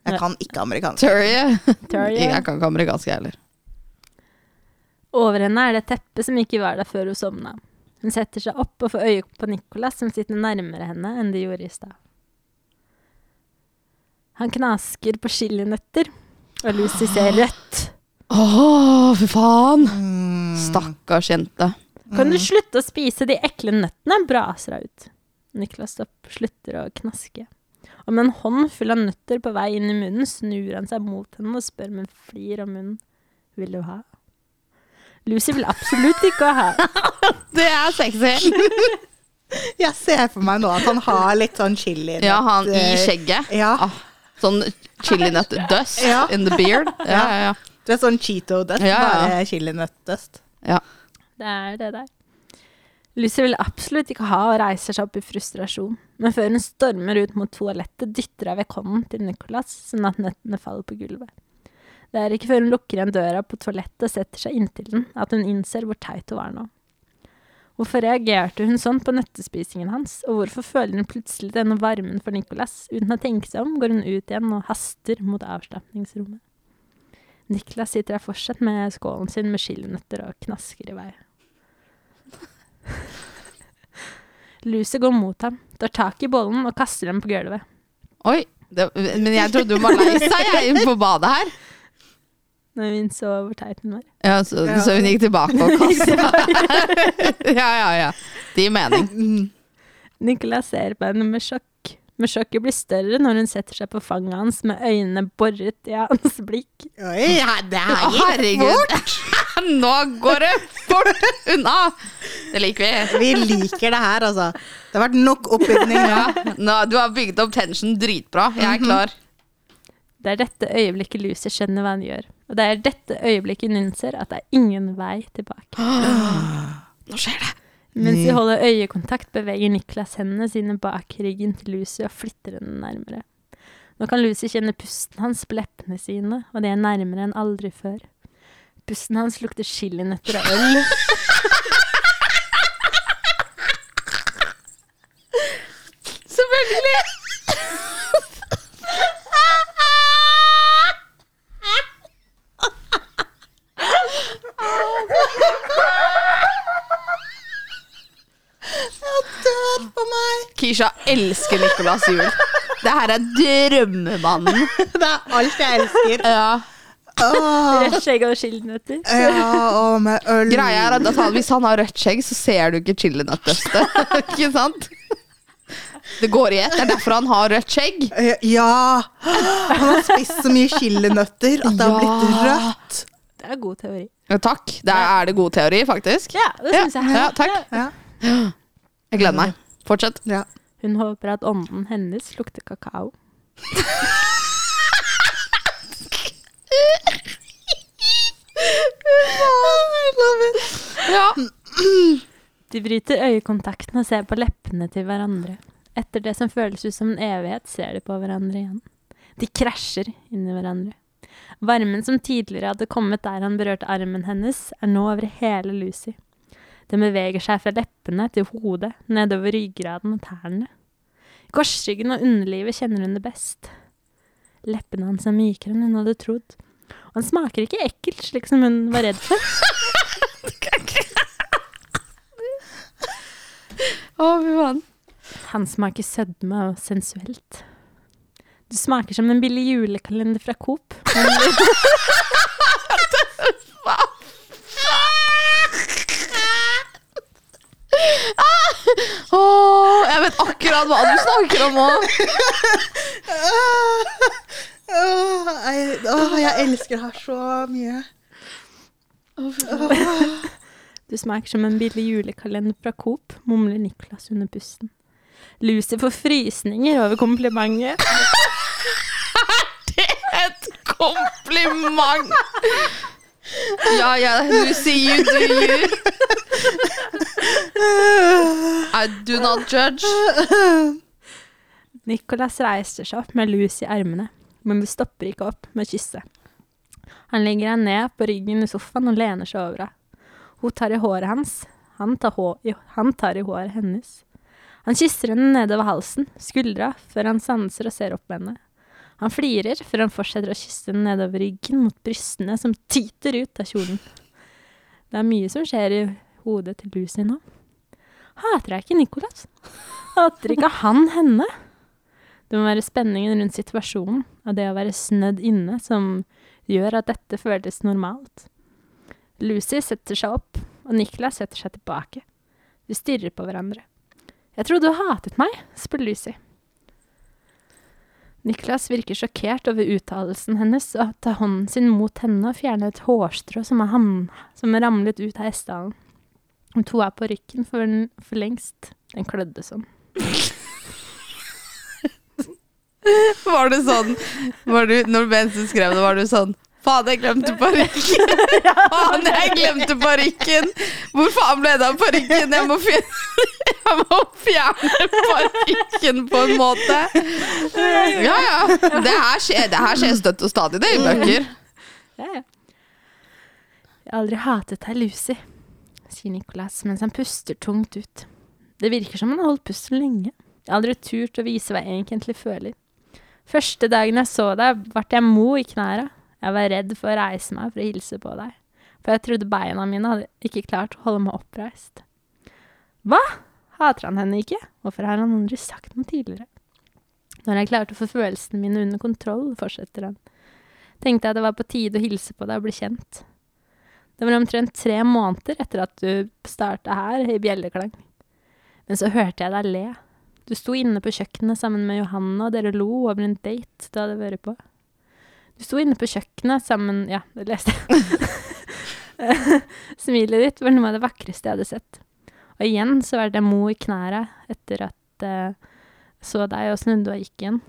Jeg
Ja.
kan ikke amerikansk.
Terje.
Terje.
Jeg kan ikke amerikansk, jeg heller.
Over henne er det et teppe som ikke var der før hun sovna. Hun setter seg opp og får øye på Nicolas, som sitter nærmere henne enn de gjorde i stad. Han knasker på chilinøtter, og Lucy ser rødt.
Åh, fy faen. Mm.
Mm.
Stakkars jente.
Kan du slutte å spise de ekle nøttene? braser hun ut. Niklas stopp, slutter å knaske. Og med en hånd full av nøtter på vei inn i munnen, snur han seg mot henne og spør med flir om munnen. Vil du ha? Lucy vil absolutt ikke ha.
Det er sexy.
Jeg ser for meg nå at han har litt sånn chili. eh,
Ja, han i skjegget.
Ja.
Ah, sånn chilinøtt dust
Ja.
in the beard. Ja, ja, ja.
Du er sånn Cheeto-dust,
Ja, ja.
bare chilinøtt-dust.
ja.
Det er det der. Lucy vil absolutt ikke ha og reiser seg opp i frustrasjon. Men før hun stormer ut mot toalettet, dytter hun vekk hånden til Nicolas, sånn at nøttene faller på gulvet. Det er ikke før hun lukker igjen døra på toalettet og setter seg inntil den, at hun innser hvor teit hun var nå. Hvorfor reagerte hun sånn på nøttespisingen hans, og hvorfor føler hun plutselig denne varmen for Nicolas? Uten å tenke seg om går hun ut igjen og haster mot avslapningsrommet. Nicolas sitter der fortsatt med skålen sin med chilinøtter og knasker i vei. Lucy går mot ham, tar tak i bollen og kaster den på gulvet.
Oi. Det, men jeg trodde hun var lei seg jeg, inne på badet her.
Når hun så hvor teit hun var.
Ja, så,
Ja.
så hun gikk tilbake og kastet. ja, ja, ja. Det gir mening.
Nicolas ser på henne med sjokk. Men sjokket blir større når hun setter seg på fanget hans med øynene boret i hans blikk.
Oi, ja, det
Å,
er
Herregud. Nå går det fort unna! Det liker vi.
Vi liker det her, altså. Det har vært nok oppbygning.
Ja. Nå, du har bygd opp tension dritbra. Jeg er klar.
Det er dette øyeblikket Lucy skjønner hva hun gjør. Og det er dette øyeblikket hun innser at det er ingen vei tilbake.
Nå skjer det.
Mens de holder øyekontakt, beveger Nicolas hendene sine bak ryggen til Lucy og flytter henne nærmere. Nå kan Lucy kjenne pusten hans på leppene sine, og det er nærmere enn aldri før. Pusten hans lukter chilinøtter og øl.
Selvfølgelig.
Jeg dør på meg.
Kisha elsker Nicolas jul. Det her er drømmemannen.
Det er alt jeg elsker.
Ja.
Åh,
Rødt skjegg og skillenøtter.
Eh.
ja, og med øl.
Greia er at at hvis han har rødt skjegg, så ser du ikke chilinøttestet. ikke sant? Det går i ett. Det er derfor han har rødt skjegg.
Eh, Ja! Han har spist så mye chilinøtter at det har blitt
Ja.
rødt.
Det er god teori.
Ja, takk. Det er, er det god teori, faktisk.
Ja, det syns jeg.
Ja, takk.
Ja.
Jeg gleder meg. Fortsett.
Ja.
Hun håper at ånden hennes lukter kakao.
Ja.
De bryter øyekontakten og ser på leppene til hverandre. Etter det som føles ut som en evighet, ser de på hverandre igjen. De krasjer inni hverandre. Varmen som tidligere hadde kommet der han berørte armen hennes, er nå over hele Lucy. Den beveger seg fra leppene til hodet, nedover ryggraden og tærne. I korsryggen og underlivet kjenner hun det best. Leppene hans er mykere enn hun hadde trodd. Og han smaker ikke ekkelt, slik som hun var redd for.
Å, fy faen.
Han smaker sødme og sensuelt. Du smaker som en billig julekalender fra Coop.
Åh, jeg vet akkurat hva du snakker om òg.
Åh, jeg, åh, Ah. jeg elsker her så mye.
Du smaker som en billig julekalender fra Coop, mumler Niklas under pusten. Lucy får frysninger over komplimentet.
Et kompliment! Ja, ja, Lucy, you do you. I do not judge.
Nicholas reiser seg opp med lus i armene, men det stopper ikke opp med å kysse. Han legger henne ned på ryggen i sofaen og lener seg over henne. Hun tar i håret hans, han tar, hå i- han tar i håret hennes. Han kysser henne nedover halsen, skuldra, før han sanser og ser opp på henne. Han flirer før han fortsetter å kysse henne nedover ryggen mot brystene som tyter ut av kjolen. Det er mye som skjer i hodet til Lucy nå. Hater jeg ikke Nicholas? Hater ikke han henne? Det må være spenningen rundt situasjonen og det å være snødd inne som gjør at dette føles normalt. Lucy setter seg opp, og Niklas setter seg tilbake. De stirrer på hverandre. Jeg trodde du hatet meg, spør Lucy. Niklas virker sjokkert over uttalelsen hennes og tar hånden sin mot henne og fjerner et hårstrå som er, ham, som er ramlet ut av hestehalen. De to er på rykken for, for lengst. Den klødde sånn.
Var det sånn var du, Når Bensen skrev det, var du sånn Faen, jeg glemte parykken! Faen, jeg glemte parykken! Hvor faen ble det av parykken? Jeg må fjerne, jeg må fjerne parykken på en måte. Ja, ja. Det her skjer, det her skjer støtt og stadig, det, i bøker.
Ja, ja. Jeg har aldri hatet deg, Lucy, sier Nicolas mens han puster tungt ut. Det virker som han har holdt pusten lenge. Jeg har aldri turt å vise hva jeg egentlig føler. Første dagen jeg så deg, ble jeg mo i knæra. Jeg var redd for å reise meg for å hilse på deg, for jeg trodde beina mine hadde ikke klart å holde meg oppreist. Hva? Hater han henne ikke? Hvorfor har han aldri sagt noe tidligere? Når jeg klarte å få følelsene mine under kontroll, fortsetter han tenkte jeg det var på tide å hilse på deg og bli kjent. Det var omtrent tre måneder etter at du starta her, i bjelleklang. Men så hørte jeg deg le. Du sto inne på kjøkkenet sammen med Johanne, og dere lo over en date du hadde vært på. Du sto inne på kjøkkenet sammen Ja, det leste jeg. Smilet ditt var noe av det vakreste jeg hadde sett. Og igjen så var det mo i knæra etter at eh, så deg og snudde og gikk igjen.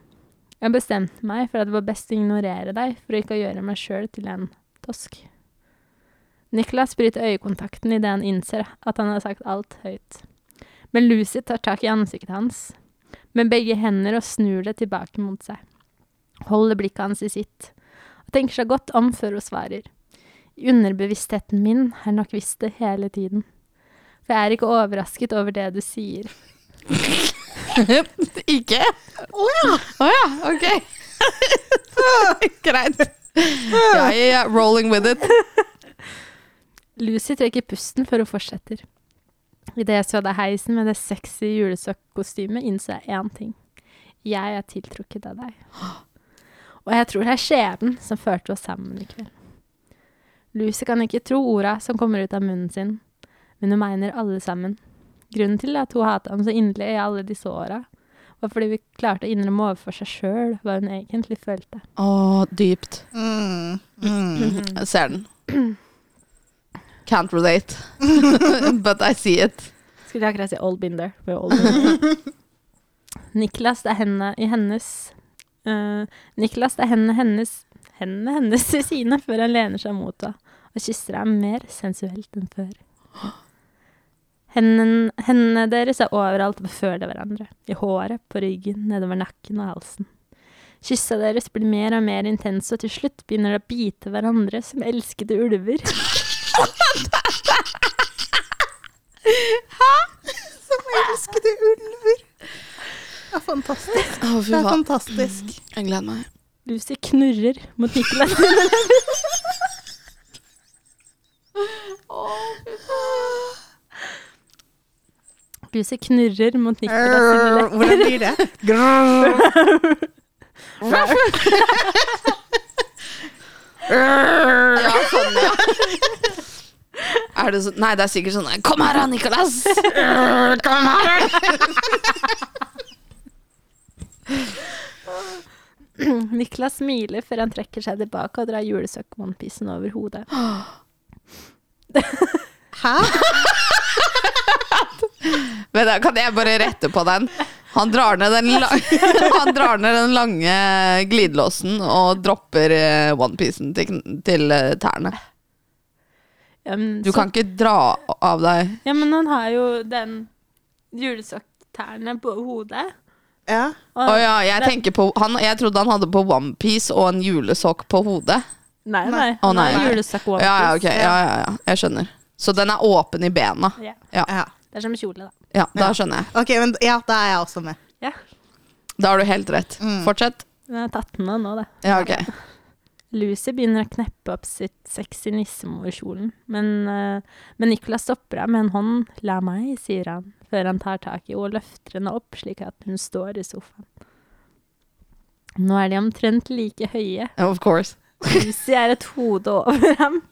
Jeg bestemte meg for at det var best å ignorere deg, for ikke å gjøre meg sjøl til en tosk. Niklas bryter øyekontakten idet han innser at han har sagt alt høyt. Men Lucy tar tak i ansiktet hans med begge hender og snur det tilbake mot seg. Holder blikket hans i sitt, og tenker seg godt om før hun svarer. I underbevisstheten min har jeg nok visst det hele tiden. For jeg er ikke overrasket over det du sier.
Ikke? Å ja. ok. Greit. Ja, ja, ja, rolling with it.
Lucy trekker pusten før hun fortsetter. Idet jeg så deg i heisen med det sexy julesokkostymet, innså jeg én ting. Jeg er tiltrukket av deg. Og jeg tror det er skjebnen som førte oss sammen i kveld. Lucy kan ikke tro orda som kommer ut av munnen sin, men hun mener alle sammen. Grunnen til at hun hata ham så inderlig i alle disse åra, var fordi vi klarte å innrømme overfor seg sjøl hva hun egentlig følte.
Å, dypt.
Mm. Mm.
Jeg ser den. Can't relate, but I see it.
Skulle akkurat si old binder. We're all been there. Niklas, det er henne i hennes eh, Niklas, det er hendene hennes Hendene hennes i sine før han lener seg mot henne og kysser ham mer sensuelt enn før. Hendene, hendene deres er overalt og beføler hverandre. I håret, på ryggen, nedover nakken og halsen. Kyssa deres blir mer og mer intense, og til slutt begynner de å bite hverandre som elskede ulver.
Som elskede ulver. Det er fantastisk.
Å, fy
Det er
faen.
fantastisk.
sånn- Jeg gleder meg.
Lucy knurrer mot Niklas. Lucy knurrer mot Niklas sine
Err,
lepper.
Eh, Hvordan blir det?
Ja, sånn, ja. Er det sånn Nei, det er sikkert sånn Kom her, da, Nicolas! Kom her!
Niklas smiler før han trekker seg tilbake og drar julesokk-onepiecen over hodet.
Hæ?
Men da kan jeg bare rette på den. Han drar ned den, la han drar ned den lange glidelåsen og dropper eh, onepiecen til, kn- til eh, tærne.
Ja, men,
Du
så-
kan ikke dra av deg
ja, men han har jo den julesokktærne på hodet.
Ja.
og-
Å ja, jeg tenker på han, Jeg trodde han hadde på onepiece og en julesokk på hodet.
Nei, nei.
Å,
han har
nei. Ja,
julesokk-onepiece.
ja, ok. Ja, ja, ja. Jeg skjønner. Så den er åpen i bena.
Ja,
ja.
Det er som kjole, da.
Ja, da
Ja.
skjønner jeg.
Ok, men ja, da er jeg også med.
Ja.
Da har du helt rett.
Mm.
Fortsett.
Den er tatt med nå, da.
Ja, ok.
Lucy begynner å kneppe opp sitt sexy nissemorkjolen, men, eh, men Nicolas stopper henne med en hånd. La meg, sier han, før han tar tak i henne og løfter henne opp slik at hun står i sofaen. Nå er de omtrent like høye.
Of course.
Lucy er et hode over ham.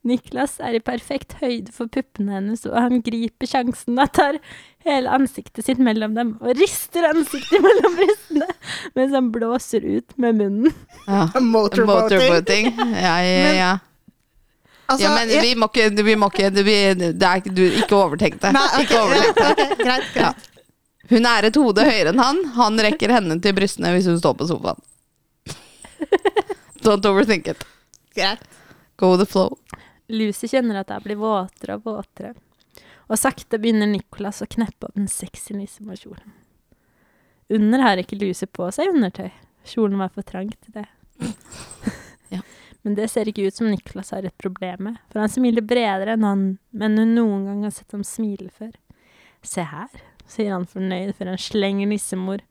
Niklas er i perfekt høyde for puppene hennes, og han griper sjansen og tar hele ansiktet sitt mellom dem og rister ansiktet mellom brystene mens han blåser ut med munnen.
Ja.
Motorboating.
Motorboating. Ja, ja,
Men-
ja.
Altså,
ja, men
jeg-
vi må ikke, vi må ikke vi, det er, ikke- Du ikke overtenk det.
Nei, ok,
Ikke overtenk det.
ok, greit, greit.
Ja. Hun er et hode høyere enn han. Han rekker henne til brystene hvis hun står på sofaen. Don't overthink it.
greit.
Go with the flow.
Lucy kjenner at hun blir våtere og våtere, og sakte begynner Nicolas å kneppe opp den sexy nissemorkjolen. Under har ikke Lucy på seg undertøy, kjolen var for trang til det.
Ja.
Men det ser ikke ut som Nicolas har et problem med, for han smiler bredere enn han men hun noen gang har sett ham smile før. Se her, sier han fornøyd før han slenger nissemor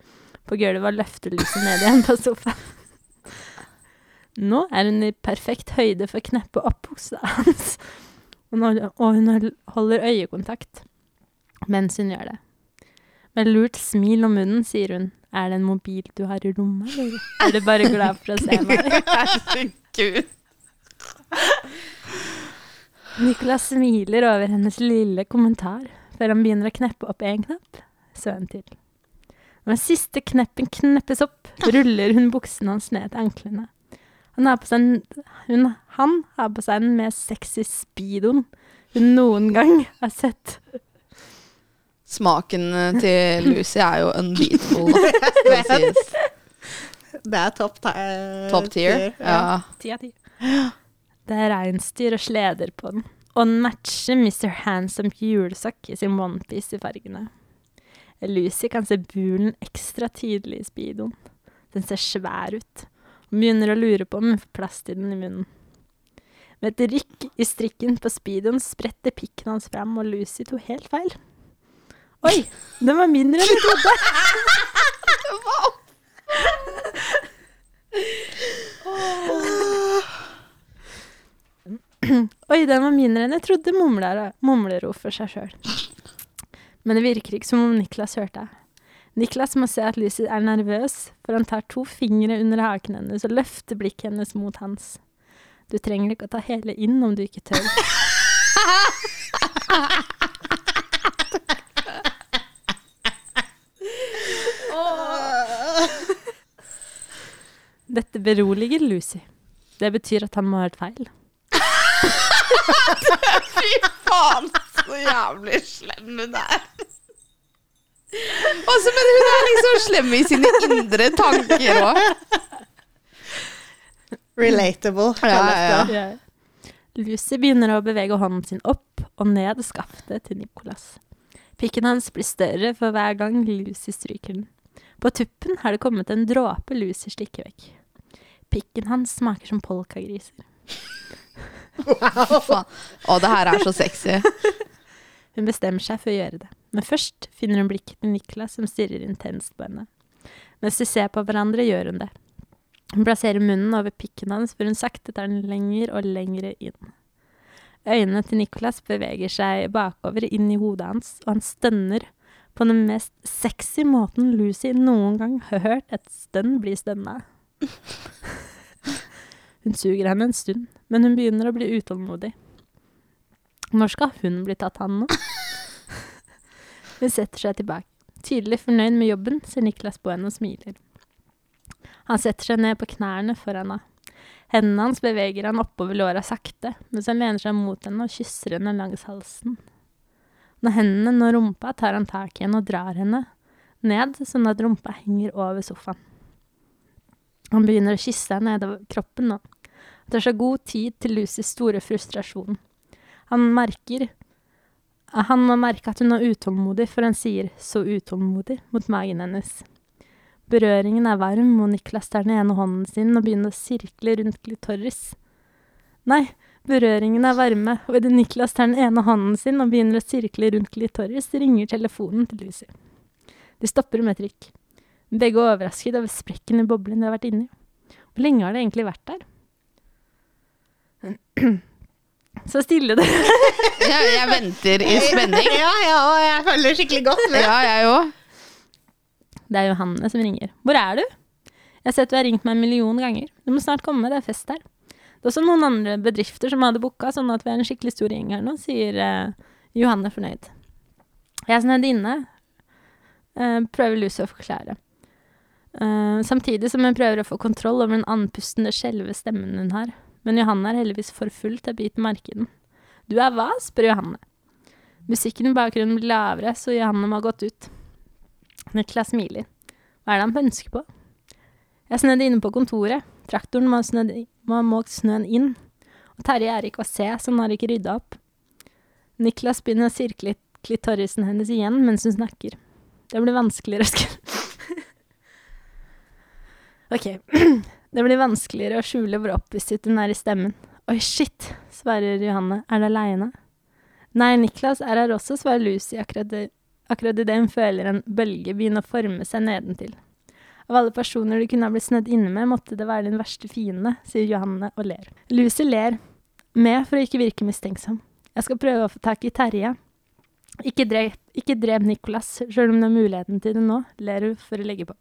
på gulvet og løfter Lucy ned igjen på sofaen. Nå er hun i perfekt høyde for å kneppe opp hos hans, og nå- og hun hol- holder øyekontakt mens hun gjør det. Med lurt smil om munnen sier hun, er det en mobil du har i rommet, eller er du bare glad for å se meg?
Herregud.
Nicolas smiler over hennes lille kommentar, før han begynner å kneppe opp en knapp, så en til. Når den siste kneppen kneppes opp, ruller hun buksen hans ned til anklene. Han har på seg en, hun, han har på seg den mest sexy speedoen hun noen gang har sett.
Smaken til Lucy er jo unbeatable. da, skal sies.
Det er topp ti- eh,
Top tier. Ja.
Ti av ti. Det er reinsdyr og sleder på den. Og den matcher Mr. Handsome julesokk i sin onepiece i fargene. Lucy kan se bulen ekstra tydelig i speedoen. Den ser svær ut. Hun begynner å lure på om hun får plass til den i munnen. Med et rykk i strikken på speedoen spretter pikken hans fram, og Lucy tok helt feil. Oi, den var mindre enn jeg trodde! Oi, den var mindre enn jeg trodde, mumler mumler hun for seg sjøl. Men det virker ikke som om Niklas hørte. Niklas må se at Lucy er nervøs, for han tar to fingre under haken hennes og løfter blikket hennes mot hans. Du trenger ikke å ta hele inn om du ikke tør. Dette beroliger Lucy. Det betyr at han må ha hørt feil.
Fy faen, så jævlig slem hun er. Altså, men hun er liksom slem i sine indre tanker òg.
Relatable. kalles det.
Ja. Lucy begynner å bevege hånden sin opp og ned skaftet til Nicolas. Pikken hans blir større for hver gang Lucy stryker den. På tuppen har det kommet en dråpe Lucy slikker vekk. Pikken hans smaker som polkagriser.
Å, det her er så sexy.
Hun bestemmer seg for å gjøre det, men først finner hun blikket til Niklas som stirrer intenst på henne. Mens de ser på hverandre, gjør hun det. Hun plasserer munnen over pikken hans før hun sakte tar den lenger og lenger inn. Øynene til Niklas beveger seg bakover inn i hodet hans, og han stønner på den mest sexy måten Lucy noen gang har hørt et stønn bli stønna. Hun suger henne en stund, men hun begynner å bli utålmodig. Når skal hun bli tatt hånd om? Hun setter seg tilbake. Tydelig fornøyd med jobben ser Niklas på henne og smiler. Han setter seg ned på knærne foran henne. Hendene hans beveger han oppover låra sakte, mens han lener seg mot henne og kysser henne langs halsen. Når hendene når rumpa, tar han tak i henne og drar henne ned, sånn at rumpa henger over sofaen. Han begynner å kysse henne nedover kroppen nå. Det tar så god tid til Lucys store frustrasjon. Han merker Han må merke at hun er utålmodig, for han sier 'så utålmodig' mot magen hennes. Berøringen er varm, og Niklas tar den ene hånden sin og begynner å sirkle rundt glitoris. Nei, berøringen er varme, og idet Niklas tar den ene hånden sin og begynner å sirkle rundt glitoris, ringer telefonen til Lucy. De stopper med trykk. Begge er overrasket over sprekken i boblen de har vært inni. Hvor lenge har det egentlig vært der? Så stille det
Jeg, jeg venter i spenning.
Ja, ja, og jeg føler skikkelig godt med
Ja, jeg òg.
Det er Johanne som ringer. Hvor er du? Jeg har sett du har ringt meg en million ganger. Du må snart komme, det er fest her. Det er også noen andre bedrifter som hadde booka, sånn at vi er en skikkelig stor gjeng her nå, sier eh, Johanne fornøyd. Jeg er snødd inne, eh, prøver Lucy å forklare. Eh, samtidig som hun prøver å få kontroll over den andpustende, skjelve stemmen hun har. Men Johanne er heldigvis for full til å bite merke i den. Du er hva? spør Johanne. Musikken i bakgrunnen blir lavere, så Johanne må ha gått ut. Niklas smiler. Hva er det han pønsker på? Jeg snødde inne på kontoret. Traktoren må ha snødd i- må ha måkt snøen inn. Og Terje er ikke å se, så han har ikke rydda opp. Niklas begynner å sirkle klitorisen hennes igjen mens hun snakker. Det blir vanskeligere å skjule Ok. Det blir vanskeligere å skjule hvor opphisset hun er i stemmen. Oi, shit, svarer Johanne. Er du aleine? Nei, Niklas er her også, svarer Lucy akkurat det Akkurat idet hun føler en bølge begynne å forme seg nedentil. Av alle personer du kunne ha blitt snødd inne med, måtte det være din verste fiende, sier Johanne og ler. Lucy ler, med for å ikke virke mistenksom. Jeg skal prøve å få tak i Terje. Ikke drep, ikke drep Nicolas, sjøl om du har muligheten til det nå, ler hun for å legge på.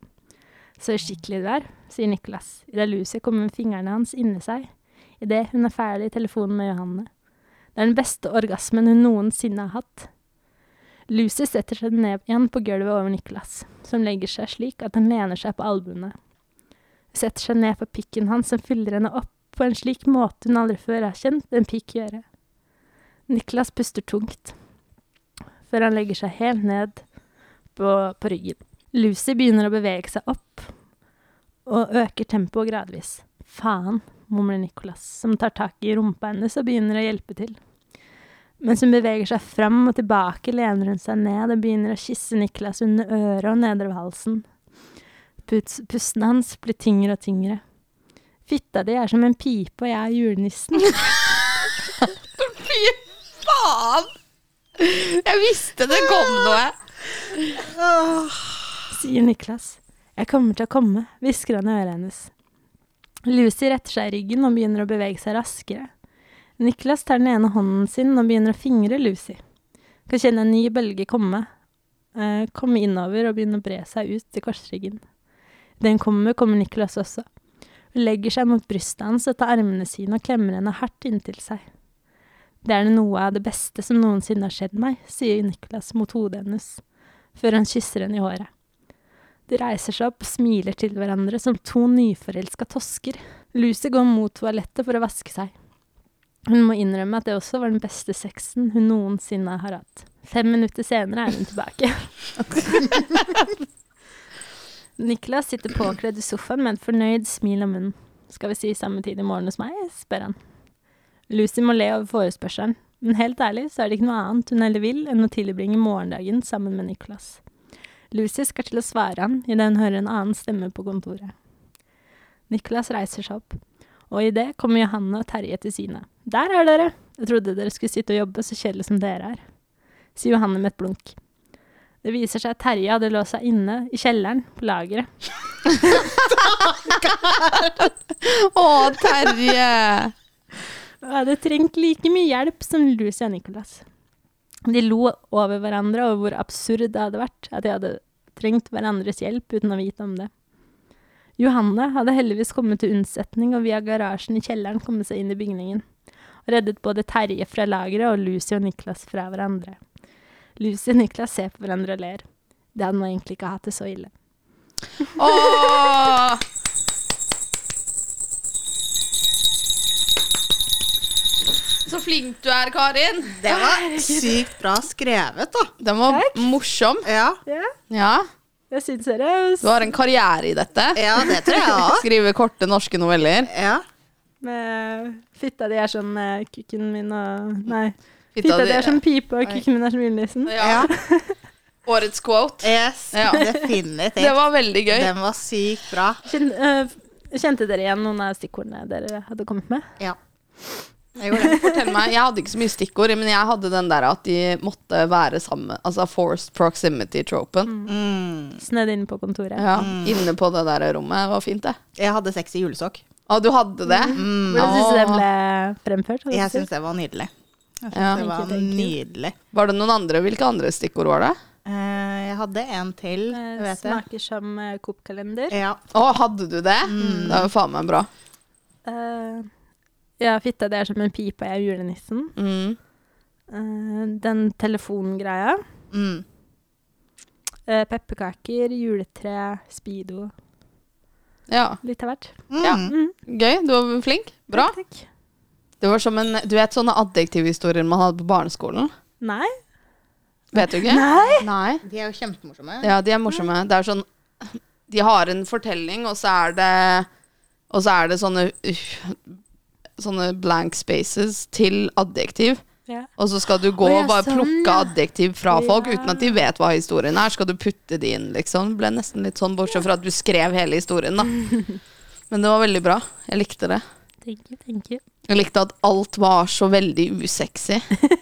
Så skikkelig du er, sier Nicolas, idet Lucy kommer med fingrene hans inni seg, idet hun er ferdig i telefonen med Johanne. Det er den beste orgasmen hun noensinne har hatt. Lucy setter seg ned igjen på gulvet over Niklas, som legger seg slik at han lener seg på albuene. Hun setter seg ned på pikken hans, som fyller henne opp på en slik måte hun aldri før har kjent en pikk gjøre. Niklas puster tungt, før han legger seg helt ned på, på ryggen. Lucy begynner å bevege seg opp, og øker tempoet gradvis. Faen, mumler Nicolas, som tar tak i rumpa hennes og begynner å hjelpe til. Mens hun beveger seg fram og tilbake, lener hun seg ned og begynner å kysse Niklas under øret og nedover halsen. Puts, pusten hans blir tyngre og tyngre. Fitta di er som en pipe, og jeg er julenissen.
Fy faen! Jeg visste det kom noe.
sier Niklas. Jeg kommer til å komme, hvisker han i øret hennes. Lucy retter seg i ryggen og begynner å bevege seg raskere. Niklas tar den ene hånden sin og begynner å fingre Lucy. Kan kjenne en ny bølge komme, eh, komme innover og begynne å bre seg ut til korsryggen. Idet hun kommer, kommer Nicholas også. Hun legger seg mot brystet hans og tar armene sine og klemmer henne hardt inntil seg. Det er noe av det beste som noensinne har skjedd meg, sier Nicholas mot hodet hennes, før han kysser henne i håret. De reiser seg opp og smiler til hverandre som to nyforelska tosker. Lucy går mot toalettet for å vaske seg. Hun må innrømme at det også var den beste sexen hun noensinne har hatt. Fem minutter senere er hun tilbake. Niklas sitter påkledd i sofaen med et fornøyd smil om munnen. Skal vi si samme tid i morgen hos meg, spør han. Lucy må le over forespørselen, men helt ærlig så er det ikke noe annet hun heller vil enn å tilbringe morgendagen sammen med Niklas. Lucy skal til å svare han idet hun hører en annen stemme på kontoret. Niklas reiser seg opp, og i det kommer Johanne og Terje til syne. Der er dere! Jeg trodde dere skulle sitte og jobbe så kjedelig som dere er, sier Johanne med et blunk. Det viser seg at Terje hadde låst seg inne i kjelleren på lageret.
Å, Terje!
og hadde trengt like mye hjelp som Lucy og Nicholas. De lo over hverandre over hvor absurd det hadde vært at de hadde trengt hverandres hjelp uten å vite om det. Johanne hadde heldigvis kommet til unnsetning og via garasjen i kjelleren kommet seg inn i bygningen, og reddet både Terje fra lageret og Lucy og Niklas fra hverandre. Lucy og Niklas ser på hverandre og ler. De hadde nå egentlig ikke hatt det så ille.
Å! Så flink du er, Karin.
Det var sykt bra skrevet, da.
Den var morsom.
Ja,
Ja.
jeg syns dere
Du har en karriere i dette.
ja det tror jeg òg.
Skrive korte norske noveller.
Ja.
med fitta di er som eh, kukken min og Nei.
Fitta
Fitta,
di-
di er som pipe, og kukken min er som julenissen.
ja.
Årets quote.
Yes,
Ja.
definitivt.
Det var veldig gøy.
Den var sykt bra.
Kjen- eh, Kjente dere igjen noen av stikkordene dere hadde kommet med?
Ja. Jeg gjorde det.
Fortell meg, Jeg hadde ikke så mye stikkord, men jeg hadde den der at de måtte være sammen. Altså forced proximity-tropen.
Mm.
Snødd inne på kontoret.
Ja, Inne på det der rommet. Det var fint, det.
Jeg hadde sex i julesokk.
Å, du hadde det?
Mm.
Hvordan syns du det ble fremført? holdt
Jeg
på å si?
syns det var nydelig. Jeg synes
Ja.
det var
Thank you, thank you.
nydelig.
Var det noen andre? Hvilke andre stikkord var det?
Eh, jeg hadde en til,
Eh,
vet jeg.
Smaker som eh, Coop-kalender.
Ja.
Å, hadde du det?
Mm.
Det var jo faen meg bra.
Eh, ja, fitta det er som en pipe, og jeg er julenissen.
Mm.
Eh, den telefongreia.
Mm.
Eh, Pepperkaker, juletre, speedo.
Ja.
Litt av hvert.
Mm.
Ja.
Mm.
Gøy. Du var flink. Bra.
Takk, takk.
Det var som en, Du vet sånne adjektivhistorier man hadde på barneskolen?
Nei.
Vet du ikke? Nei. Nei.
De er jo kjempemorsomme.
Ja, de er morsomme. Det er sånn De har en fortelling, og så er det Og så er det sånne uh, Sånne blank spaces til adjektiv.
Ja.
Og så skal du gå
Å, ja,
og bare
sånn,
plukke
ja.
adjektiv fra folk
Ja.
uten at de vet hva historien er. Skal du putte de inn, liksom? Det Ble nesten litt sånn, bortsett fra at du skrev hele historien, da. Men det var veldig bra. Jeg likte det.
Thank you, thank you.
Jeg likte at alt var så veldig usexy,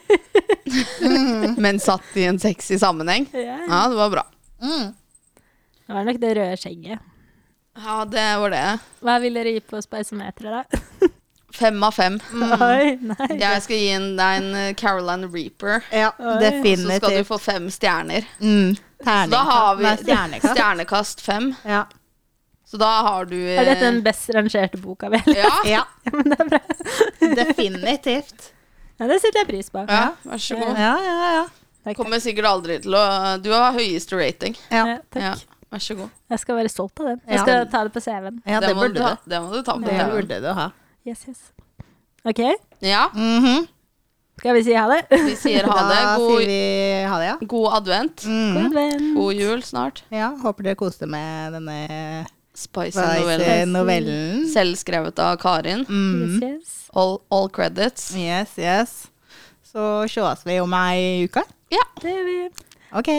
men satt i en sexy sammenheng.
Ja.
Ja, det var bra.
Mm.
Det var nok det røde skjegget.
Ja, det var det.
Hva vil dere gi på speisometeret, da?
Fem av fem.
Oi, nei.
Jeg skal gi en- deg en eh, Caroline Reaper.
Ja,
Og
Oi.
så skal du
definitivt.
få fem stjerner.
Mm.
Så da har vi
Nei, stjernekast.
stjernekast fem.
Ja.
Så da har du eh,
Er dette den best rangerte boka, vel?
Ah. Ja,
ja,
Men det er bra.
definitivt.
Ja, det setter jeg pris på.
ja, vær så god.
Ja, ja, ja.
Takk,
Kommer sikkert aldri til å Du har høyeste rating.
takk.
Ja,
Ja, takk.
Ja, vær så god.
Jeg skal være stolt av den. Jeg
Ja.
skal ta det på CV-en.
ja det
må
burde
ta,
du.
det må du ta på
Det
TV.
burde du ha.
Yes, yes. OK,
Ja,
Mhm.
skal vi si ha det?
vi sier ha det.
Da sier
God,
vi ha det, ja.
god advent.
God
Mm.
advent.
God jul snart.
Ja, Håper dere koste med denne
Spicy novelle.
novellen.
Selvskrevet av Karin.
Yes,
Mm.
yes.
All, all credits.
Yes, yes. Så sees vi om ei uke.
Ja.
Det gjør vi.
OK.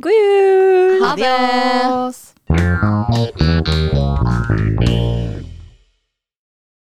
God jul!
Ha det.
Adios.
Thank you.